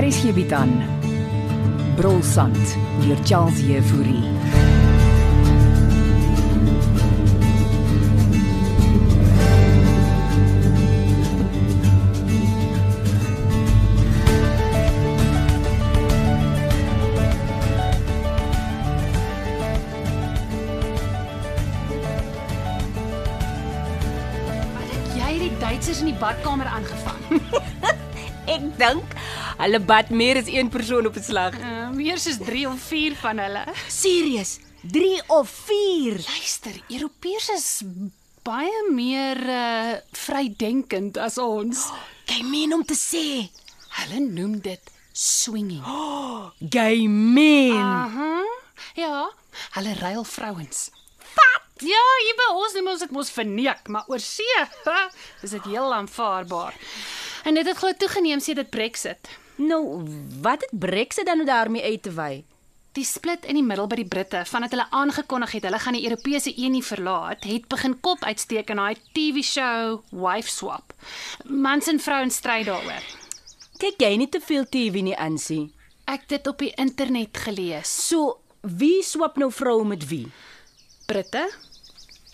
Hier is hierby dan. Brolsand deur Charles Jefouri. Wat het jy die Duitsers in die badkamer aangevang? Ek dink hulle bad meer as een persoon op 'n slag. Uh, meer soos 3 of 4 van hulle. Serius? 3 of 4. Luister, Europeërs is baie meer uh vrydenkend as ons. Jy meen om te sê Hulle noem dit swinging. jy meen. Aha. Ja, hulle ruil vrouens. Wat? Ja, hier by ons noem ons dit mos verneek, maar oor see ha, is dit heel aanvaarbaar. En dit het glo toegeneem sedert Brexit. Nou, wat het Brexit dan nou daarmee uit te wy? Die split in die middel by die Britte vandat hulle aangekondig het hulle gaan die Europese Unie verlaat, het begin kop uitsteek in daai TV-show Wife Swap. Mans en vrouens stry daaroor. Kyk jy nie te veel TV nie aansie. Ek het dit op die internet gelees. So, wie swap nou vrou met wie? Britte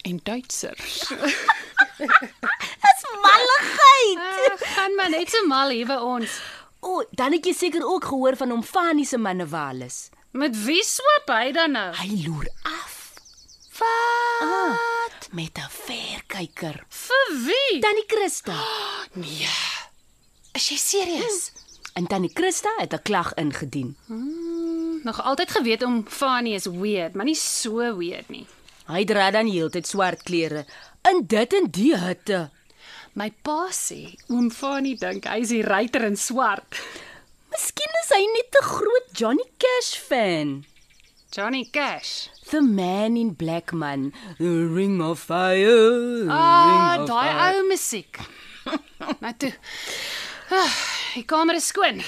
en Duitsers. Dis malligheid. Ah, gaan maar net so mal hier by ons. O, oh, dan het jy seker ook gehoor van hom Fanie se mannewalis. Met wie swap hy dan nou? Hy loer af. Wat? Ah, met 'n verkyker. Vir wie? Tannie Christa. Nee. Is jy serieus? En tannie Christa het 'n klag ingedien. Hm. Nog altyd geweet om Fanie is weird, maar nie so weird nie. Hy dra dan heeltyd swart klere in dit en die hitte. My pa sê oom Fanie dink hy is die ruiter in swart. Miskien is hy net 'n groot Johnny Cash fan. Johnny Cash. The man in black man, the ring of fire. Ah, ring of daai fire. ou musiek. nou toe. Ah, die kamer is skoon.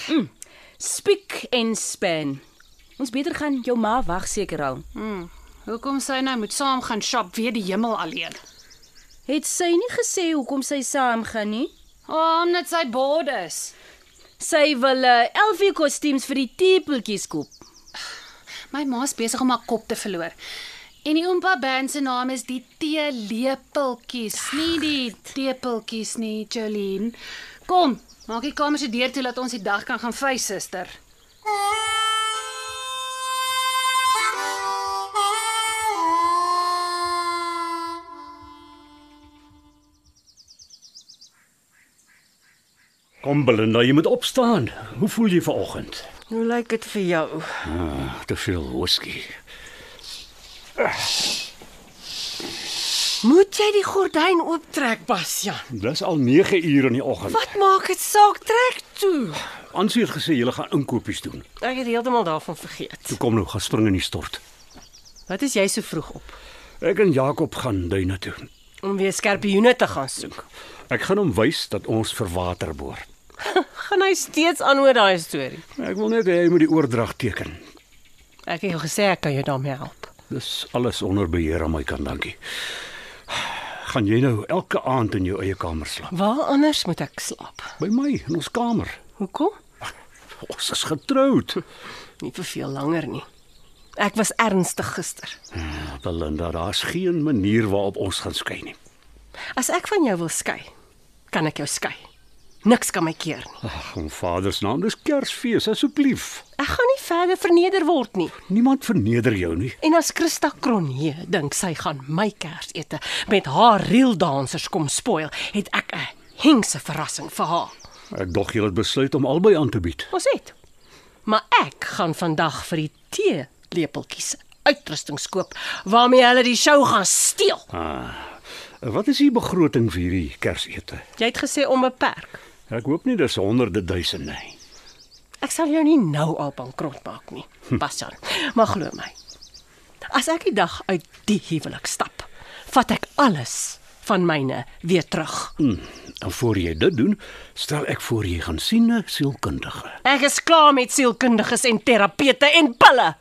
Spiek en span. Ons beter gaan jou ma wag seker al. Hoekom sy nou moet saam gaan shop weer die hemel alleen? Het sy nie gesê hoekom sy saam gaan nie? Oh, omdat sy bored is. Sy wil uh, Elfie kostuums vir die teepeltjies koop. My ma's besig om haar kop te verloor. En die oompa band se naam is die teelepeltjies, nie die teepeltjies nie, Jolene. Kom, maak die kamer se deur toe dat ons die dag kan gaan vy, suster. Kom Belinda, jy moet opstaan. Hoe voel jy vanoggend? Hoe lyk dit vir jou? Ah, te veel whisky. Moet jy die gordyn ooptrek, Bastian? Dis al 9 uur in die oggend. Wat maak dit saak trek toe? Ansie het gesê jy gaan inkopies doen. Ek het heeltemal daarvan vergeet. Toe kom nou, gaan spring in die stort. Wat is jy so vroeg op Ek en Jakob gaan duine toe. om weer skerpioene te gaan soek? Ek gaan hom wys dat ons vir water boor. Gaan hy steeds aan oor daai storie? Ek wil net hê hy moet die oordrag teken. Ek het jou gesê ek kan jou daarmee help. Dis alles onder beheer aan my kant, dankie. Gaan jy nou elke aand in jou eie kamer slaap? Waar anders moet ek slaap? By my in ons kamer. Hoekom? Ons is getroud. Nie vir veel langer nie. Ek was ernstig gister. Hm, Belinda, daar's geen manier waarop ons gaan skei nie. As ek van jou wil skei, kan ek jou skei. Niks kan my keer nie. Ag, om Vader se naam, dis Kersfees, asseblief. Ek gaan nie verder verneder word nie. Niemand verneder jou nie. En as Christa Kronje dink sy gaan my Kersete met haar reeldansers kom spoil, het ek 'n hengse verrassing vir haar. Ek dog jy het besluit om albei aan te bied. Ons het. Maar ek gaan vandag vir die tee lepeltjies uitrusting koop waarmee hulle die show gaan steel. Ah. Wat is die begroting vir hierdie Kersete? Jy het gesê onbeperk. Ek hoop nie dis honderde duisende nie. Ek sal jou nie nou al bankrot maak nie. Pas aan. Maar glo my. As ek die dag uit die huwelik stap, vat ek alles van myne weer terug. Hm, en voor jy dit doen, stel ek voor jy gaan sien 'n sielkundige. Ek is klaar met sielkundiges en terapete en pille.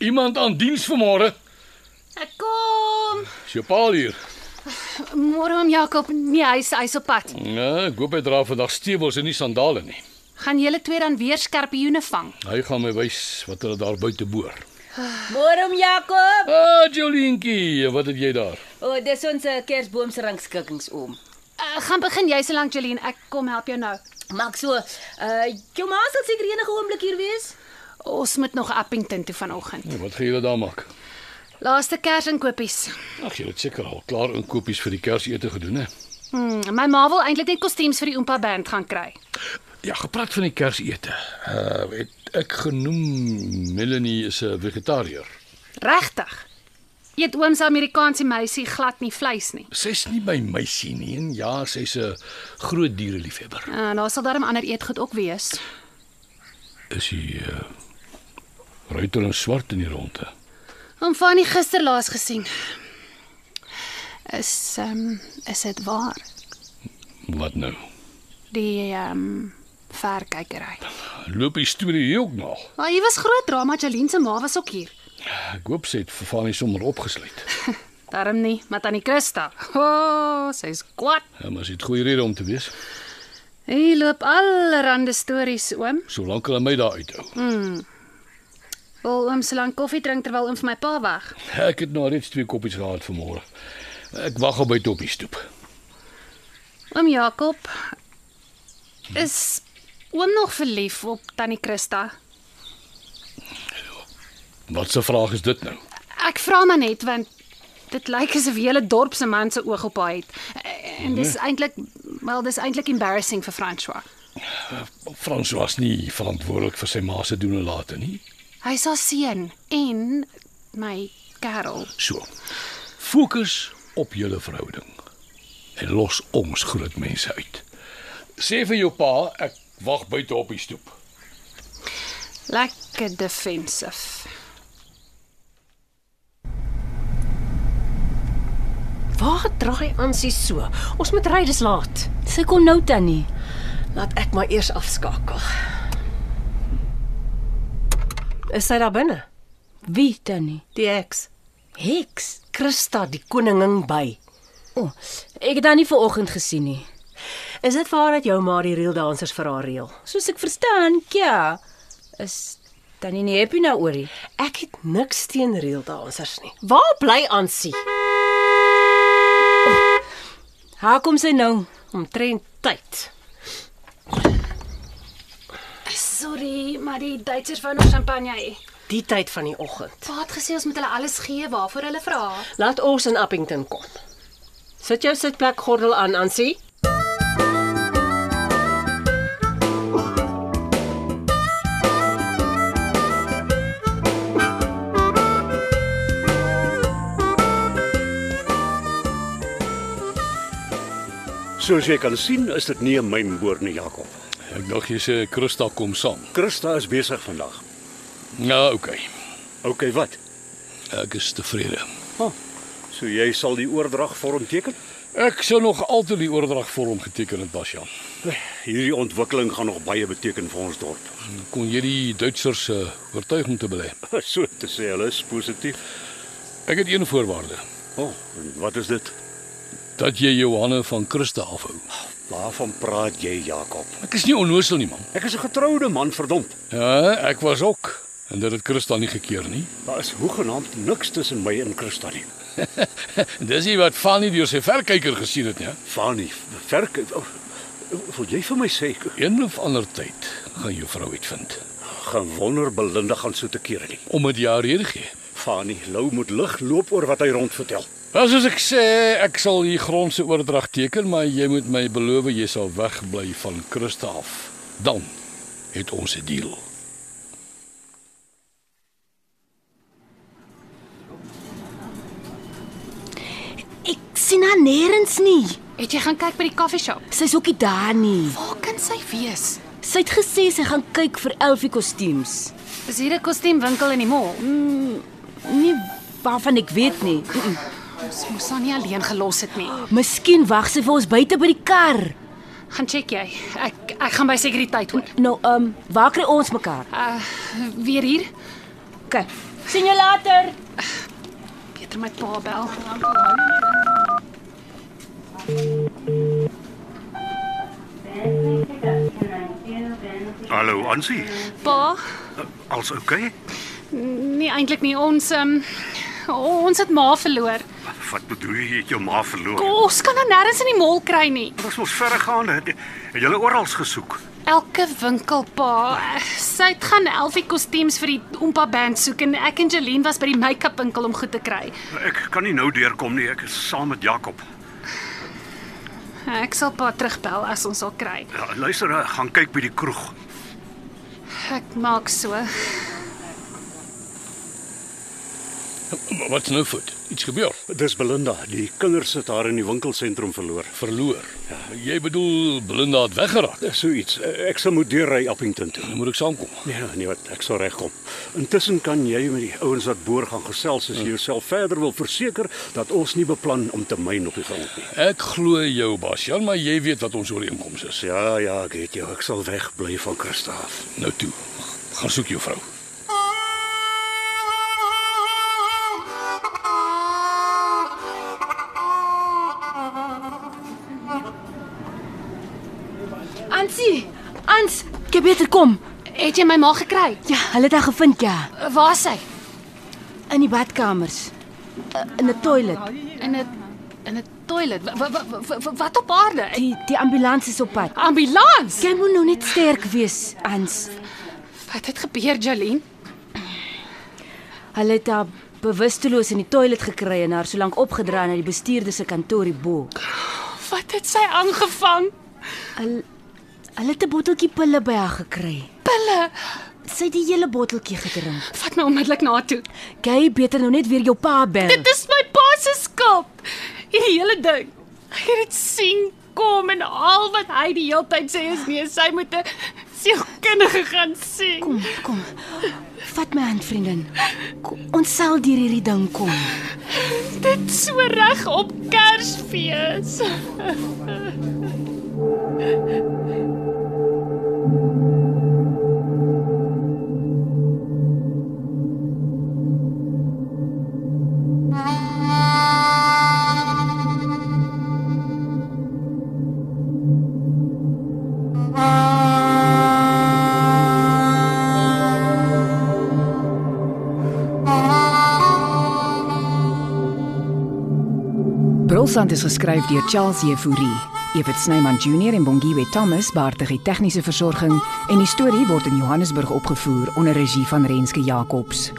Iemand aan diens vanmôre. Ek kom. Sjopaal hier. Môre om Jakob. Nee, hy's hy's op pad. Ja, ek hoop hy dra vandag stewels en nie sandale nie. Gaan julle twee dan weer skerpioene vang? Hy gaan my wys wat hulle daar buite boor. Môre om Jakob. Ah, Jolientjie, wat het jy daar? O, oh, dis ons eh, Kersboom se rangskikkings om. Uh, gaan begin jy so lank Jolien, ek kom help jou nou. Maak so, uh jou ma sal seker enige oomblik hier wees. Ons moet nog Appington toe vanoggend. Nee, Wat gaan julle daar maak? Laaste kersinkopies. Ag, julle het seker al klaar inkopies vir die Kersete gedoen, hè? Hmm, my ma wil eintlik net kostuums vir die Oompa band gaan kry. Ja, gepraat van die Kersete. Uh, het ek genoem Melanie is 'n vegetariër. Regtig. Eet ooms Amerikaanse meisie glad nie vleis nie. Sy's nie by meisie nie en ja, sy's 'n groot diereliefhebber. En uh, daar sal darm ander eetgoed ook wees. Is hy uh, ruiter in swart in die ronde? Hom van die gister laas gesien. Is ehm um, is dit waar? Wat nou? Die ehm um, verkykery. Loop die storie hier ook nog? Maar hier was groot drama. Jolien se ma was ook hier. Ek hoop sy het vir Fanny sommer opgesluit. Darm nie, maar tannie Christa. O, oh, sy's kwaad. Ja, maar sy het goeie rede om te wees, Hier loop allerlei stories oom. solank hulle my daar uithou. Wil oom so lank koffie drink terwyl oom vir my pa wag. Ek het nou reeds twee koppies gehad vanmôre. Ek wag al buite op die stoep. Oom Jakob is oom nog verlief op tannie Christa? Wat 'n vraag is dit nou? Ek vra maar net want dit lyk asof die hele dorp se man se oog op haar het. En dis eintlik wel dis eintlik embarrassing vir François. Frans was nie verantwoordelik vir sy ma se doen en late nie. Hy's haar seun en my kerel. So. Fokus op julle verhouding en los ons groot mense uit. Sê vir jou pa ek wag buite op die stoep. Lekker defensief. Waar draai aan sy so? Ons moet ry, dis laat. Sy kom nou tannie. Laat ek maar eers afskakel. Is sy daar binne? Wie tannie? Die heks. Heks. Christa, die koningin by. O, oh, ek het haar nie vanoggend gesien nie. Is dit waar dat jou ma die reel dansers vir haar reël? Soos ek verstaan, ja, is tannie nie happy nou oor nie. Ek het niks teen reel dansers nie. Waar bly Ansie? Haar kom sy nou. Omtrent tyd. Sorry, maar die Duitsers wou nog champagne hê. Die tyd van die oggend. Pa het gesê ons moet hulle alles gee waarvoor hulle vra. Laat ons in Appington kom. Sit jou sitplek gordel aan, Ansie. Soos jy kan sien, is dit nie 'n mynboer nie, Jakob. Ek dink jy sê Christa kom saam. Christa is besig vandag. Nou, okay. OK, wat? Ek is tevrede. Oh, so jy sal die oordrag vorm teken? Ek sou nog altyd die oordragvorm geteken het, Basjan. Hierdie ontwikkeling gaan nog baie beteken vir ons dorp. Kon jy die Duitsers se oortuig om te belê? So te sê, hulle is positief. Ek het een voorwaarde, O, oh, en wat is dit? dat jy jou hande van Christa afhou. Waarvan praat jy, Jakob? Ek is nie onnoosel nie, man. Ek is 'n getroude man, verdomp. Ja, ek was ook en dit het Christa nie gekeer nie. Daar is hoegenaamd niks tussen my en Christa nie. Dis nie wat van nie deur sy verkyker gesien het ja. nie. hè? Fani, verk. Oh, wil jy vir my sê Een of ander tyd gaan jou vrou uitvind gewonder Belinda gaan so te kere nie? om dit jou rede gee. Fani, Lou moet lig loop oor wat hy rond vertel. Nou soos ek sê, ek sal hier grondse oordrag teken, maar jy moet my beloof jy sal wegbly van Christa af. Dan het ons 'n deal. Ek nêrens nie. Het jy gaan kyk by die koffieshop? Sy's ook nie daar nie. Waar kan sy wees? Sy het gesê sy gaan kyk vir Elfie kostuums. Is hier 'n kostuumwinkel in die mall? Nie waarvan ek weet nie. Ons moes haar nie alleen gelos het nie. Miskien wag sy vir ons buite by die kar. Gaan check jy. Ek ek gaan by sekuriteit hoor. Nou, ehm, um, waar kry ons mekaar? Uh weer hier. OK. Sien jou later. Peter my pa bel. Hallo Ansie. Pa, Als oukei? Okay? nie eintlik nie ons um, ons het ma verloor. Wat bedoel jy, jy het jou ma verloor? Ons kan haar nêrens in die mall kry nie. Dit was mos verregaande. Het, het julle oral gesoek? Elke winkel pa. Sy het gaan Elfie kostuums vir die Oompa band soek en ek en Jeline was by die make-up winkel om goed te kry. Ek kan nie nou deurkom nie. Ek is saam met Jakob. Ek sal pa terugbel as ons haar kry. Ja, luister, eh, gaan kyk by die kroeg. Ek maak so. Maar Wat's nou fout? Iets gebeur. Dis Belinda. Die kinders het haar in die winkelsentrum verloor. Verloor. Ja, Jy bedoel Belinda het weggeraak. Dis so iets. Eh, Ek sal moet deurry Appington toe. Dan moet ek saamkom. Nee, nee, wat ek sal regkom. Intussen kan jy met die ouens wat boer gaan gesels as jy jouself verder wil verseker dat ons nie beplan om te myn op die grond nie. Ek glo jou, Bastian, maar jy weet wat ons ooreenkoms is. Ja, ja, ek weet jou. Ek sal wegbly van Christa af. Nou toe. Gaan soek jou vrou. Ansie, Ans, jy beter kom. Het jy my ma gekry? Ja, hulle het haar gevind ja, Waar is sy? in die badkamers. Uh, In 'n toilet. In 'n in 'n toilet. Wa- wa- wa- wa- Wat op aarde? Ek- Die die ambulans is op pad. Ambulans. Jy moet nou net sterk wees, Ans. Wat het gebeur, Jolene? Hulle het haar bewusteloos in die toilet gekry en haar solank opgedra na die bestuurder se kantoor die bo. Wat het sy aangevang? Hulle het 'n botteltjie pille by haar gekry. Pille. Sy het die hele botteltjie gedrink. Vat my onmiddellik na toe. Jy beter nou net weer jou pa bel. Dit is my pa se skuld. Hierdie hele ding. Ek het dit sien kom en al wat hy die hele tyd sê is nee, sy moet 'n sielkundige gaan sien. Kom, kom. Vat my hand, vriendin. Kom, ons sal deur hierdie ding kom. Dit so reg op Kersfees. Brolsand is geskryf deur Charles Jefouri. Evit Snyman Junior en Bongwe Thomas baartig die tegniese versorging en die storie word in Johannesburg opgevoer onder regie van Renske Jacobs.